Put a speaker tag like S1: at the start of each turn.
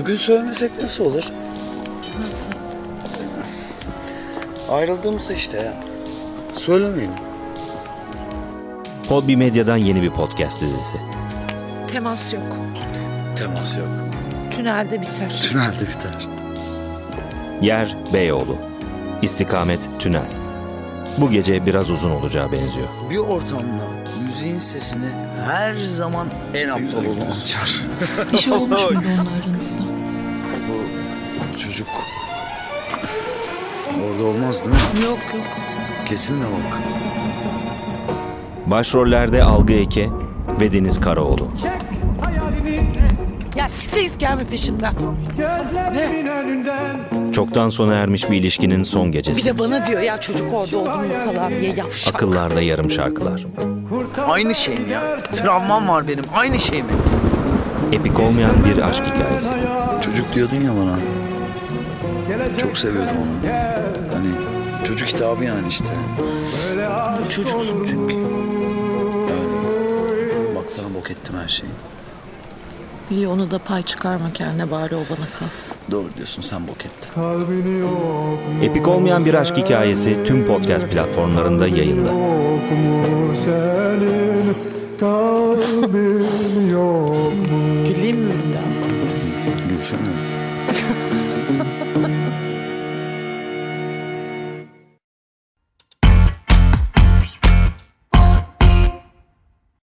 S1: Bugün söylemesek nasıl olur?
S2: Nasıl?
S1: Ayrıldığımızda işte ya. Söylemeyin.
S3: Podbi Medya'dan yeni bir podcast dizisi.
S2: Temas yok.
S1: Temas yok.
S2: Tünelde biter.
S1: Tünelde biter.
S3: Yer Beyoğlu. İstikamet Tünel. Bu gece biraz uzun olacağı benziyor.
S1: Bir ortamda müziğin sesini her zaman en aptal olan açar.
S4: Bir şey olmuş muydu onun aranızda?
S1: Bu çocuk orada olmaz değil mi?
S2: Yok yok.
S1: Kesin mi bak?
S3: Başrollerde Algı Eke ve Deniz Karaoğlu.
S2: Ya siktir git gelme peşimden.
S3: Çoktan sona ermiş bir ilişkinin son
S2: Bir
S3: gecesi.
S2: de bana diyor ya çocuk orada oldu mu falan diye yavşak.
S3: Akıllarda yarım şarkılar.
S1: Aynı şey mi ya? Travmam var benim. Aynı şey mi?
S3: Epik olmayan bir aşk hikayesi.
S1: Çocuk diyordun ya bana. Çok seviyordum onu. Hani çocuk kitabı yani işte. Çocuksun çünkü. Öyle. Bak sana bok ettim her şeyi.
S4: İyi onu da pay çıkarma kendine bari o bana kalsın.
S1: Doğru diyorsun sen bok ettin.
S3: Epik olmayan bir aşk hikayesi tüm podcast platformlarında yayında.
S2: Güleyim mi?
S1: Gülsene.